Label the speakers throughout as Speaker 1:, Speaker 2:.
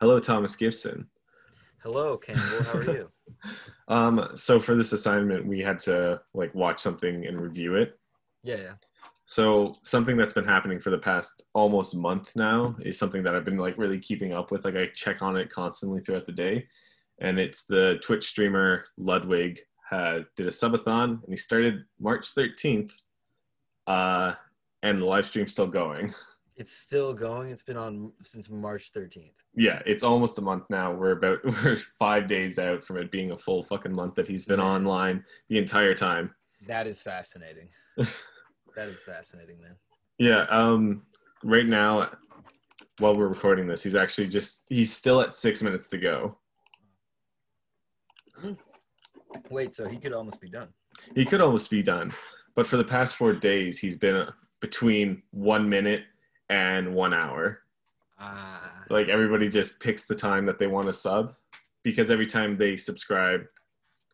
Speaker 1: Hello, Thomas Gibson.
Speaker 2: Hello, Campbell. How are you?
Speaker 1: Um, so for this assignment, we had to like watch something and review it.
Speaker 2: yeah, yeah.
Speaker 1: So something that's been happening for the past almost month now is something that I've been like really keeping up with. Like I check on it constantly throughout the day, and it's the Twitch streamer Ludwig uh, did a subathon and he started March 13th, uh, and the live stream's still going.
Speaker 2: It's still going. It's been on since March 13th.
Speaker 1: Yeah, it's almost a month now. We're about we're five days out from it being a full fucking month that he's been online the entire time.
Speaker 2: That is fascinating. that is fascinating, man.
Speaker 1: Yeah. Um. Right now, while we're recording this, he's actually just he's still at six minutes to go.
Speaker 2: Wait, so he could almost be done.
Speaker 1: He could almost be done, but for the past four days, he's been uh, between one minute and one hour.
Speaker 2: Ah,
Speaker 1: Like everybody just picks the time that they want to sub, because every time they subscribe,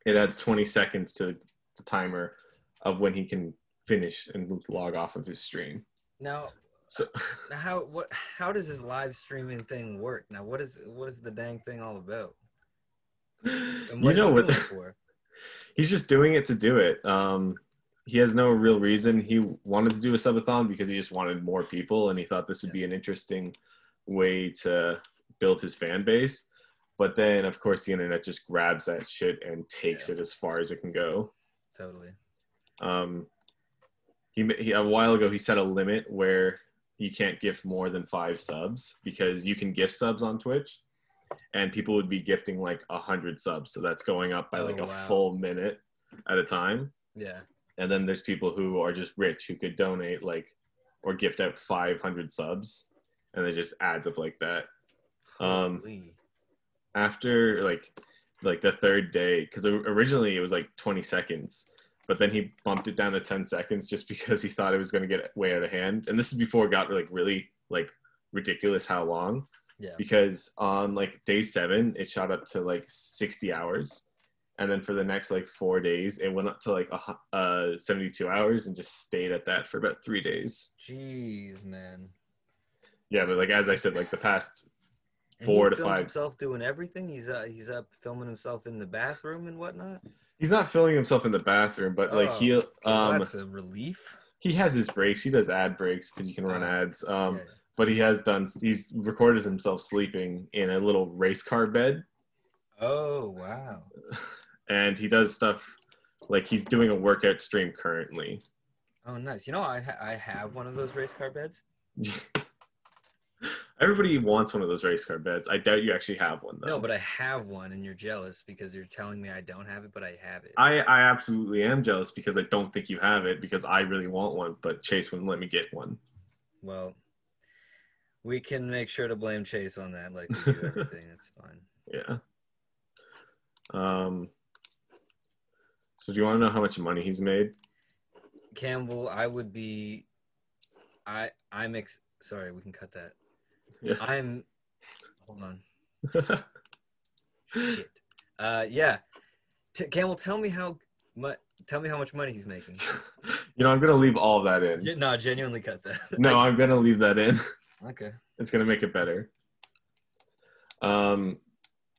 Speaker 1: it adds twenty seconds to the timer of when he can finish and log off of his stream.
Speaker 2: now uh,
Speaker 1: So.
Speaker 2: now how what how does this live streaming thing work? Now what is what is the dang thing all about? And
Speaker 1: You
Speaker 2: what is
Speaker 1: know
Speaker 2: it
Speaker 1: what?
Speaker 2: doing for?
Speaker 1: he's just doing it to do it. Um, he has no real reason. He wanted to do a subathon because he just wanted more people, and he thought this would be an interesting way to build his fan base. But then, of course, the internet just grabs that shit and takes
Speaker 2: Yeah.
Speaker 1: it as far as it can go.
Speaker 2: Totally.
Speaker 1: Um, he, ma- he a while ago he set a limit where you can't gift more than five subs because you can gift subs on Twitch, and people would be gifting like a hundred subs. So that's going up by
Speaker 2: Oh,
Speaker 1: like a
Speaker 2: wow.
Speaker 1: full minute at a time
Speaker 2: Yeah.
Speaker 1: and then there's people who are just rich who could donate like or gift out 500 subs and it just adds up like that Um,
Speaker 2: Holy.
Speaker 1: after like like the third day because originally it was like 20 seconds but then he bumped it down to 10 seconds just because he thought it was going to get way out of hand and this is before it got like really like ridiculous how long
Speaker 2: yeah.
Speaker 1: because on like day seven it shot up to like 60 hours and then for the next like four days it went up to like a, hu- uh 72 hours and just stayed at that for about three days
Speaker 2: Jeez, man.
Speaker 1: yeah but like as i said like the past
Speaker 2: And
Speaker 1: Four
Speaker 2: he
Speaker 1: to
Speaker 2: films
Speaker 1: five.
Speaker 2: Himself doing everything. He's uh, he's up filming himself in the bathroom and whatnot.
Speaker 1: he's not filming himself in the bathroom but like
Speaker 2: Oh,
Speaker 1: he
Speaker 2: Well,
Speaker 1: um
Speaker 2: that's a relief.
Speaker 1: he has his breaks he does ad breaks because you can run
Speaker 2: Oh,
Speaker 1: ads um
Speaker 2: Yeah.
Speaker 1: but he has done he's recorded himself sleeping in a little race car bed
Speaker 2: Oh wow.
Speaker 1: and he does stuff like he's doing a workout stream currently
Speaker 2: Oh nice. You know I ha- I have one of those race car beds.
Speaker 1: Everybody wants one of those race car beds. I doubt you actually have one though.
Speaker 2: No, but I have one, and you're jealous because you're telling me I don't have it, but I have it.
Speaker 1: I, I absolutely am jealous because I don't think you have it because I really want one, but Chase wouldn't let me get one.
Speaker 2: well, we can make sure to blame Chase on that, like we do everything. It's fine.
Speaker 1: Yeah. Um so do you want to know how much money he's made?
Speaker 2: Campbell, I would be, I I'm ex- sorry. We can cut that.
Speaker 1: Yeah.
Speaker 2: I'm. Hold on. Shit. Uh, yeah. T- Campbell, tell me how much. Tell me how much money he's making.
Speaker 1: you know, I'm gonna leave all that in.
Speaker 2: Ge- no, genuinely cut that.
Speaker 1: No, I'm gonna leave that in.
Speaker 2: okay.
Speaker 1: it's gonna make it better. Um,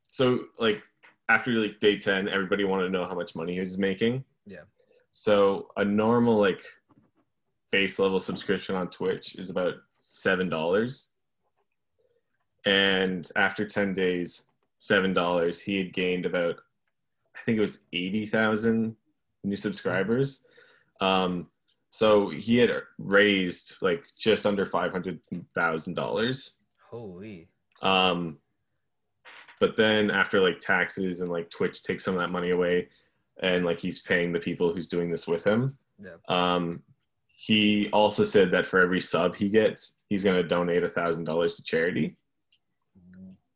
Speaker 1: so like after like day ten, everybody wanted to know how much money he was making.
Speaker 2: Yeah.
Speaker 1: So a normal like base level subscription on Twitch is about seven dollars, and after ten days, seven dollars, he had gained about I think it was eighty thousand new subscribers. Um, so he had raised like just under five hundred thousand dollars.
Speaker 2: Holy.
Speaker 1: Um, but then after like taxes and like Twitch takes some of that money away, and like he's paying the people who's doing this with him.
Speaker 2: Yeah.
Speaker 1: Um, he also said that for every sub he gets, he's gonna donate a thousand dollars to charity.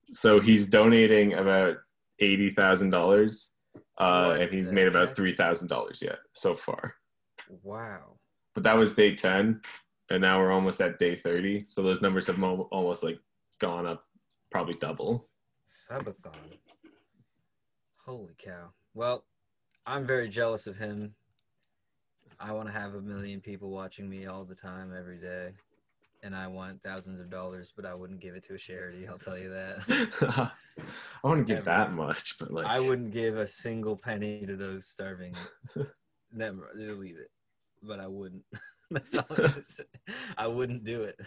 Speaker 1: So he's donating about eighty thousand uh, dollars, uh,
Speaker 2: What
Speaker 1: and he's
Speaker 2: the
Speaker 1: made about
Speaker 2: heck?
Speaker 1: three thousand dollars yet so far.
Speaker 2: Wow.
Speaker 1: but that was day 10 and now we're almost at day 30 so those numbers have mo- almost like gone up probably double
Speaker 2: Subathon. Holy cow. Well, I'm very jealous of him. I want to have a million people watching me all the time, every day. and I want thousands of dollars, but I wouldn't give it to a charity. I'll tell you that.
Speaker 1: I wouldn't give that much, but like
Speaker 2: I wouldn't give a single penny to those starving. Never, they'll leave it, but I wouldn't. That's all I'm gonna say. I wouldn't do it.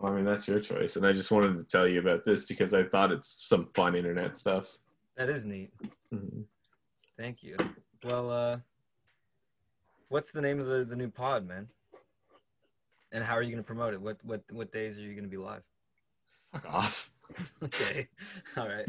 Speaker 1: I mean, that's your choice, and I just wanted to tell you about this because I thought it's some fun internet stuff.
Speaker 2: That is neat.
Speaker 1: Mhm.
Speaker 2: Thank you. Well, uh, what's the name of the, the new pod, man? And how are you going to promote it? What what what days are you going to be live?
Speaker 1: Fuck off.
Speaker 2: Okay. All right.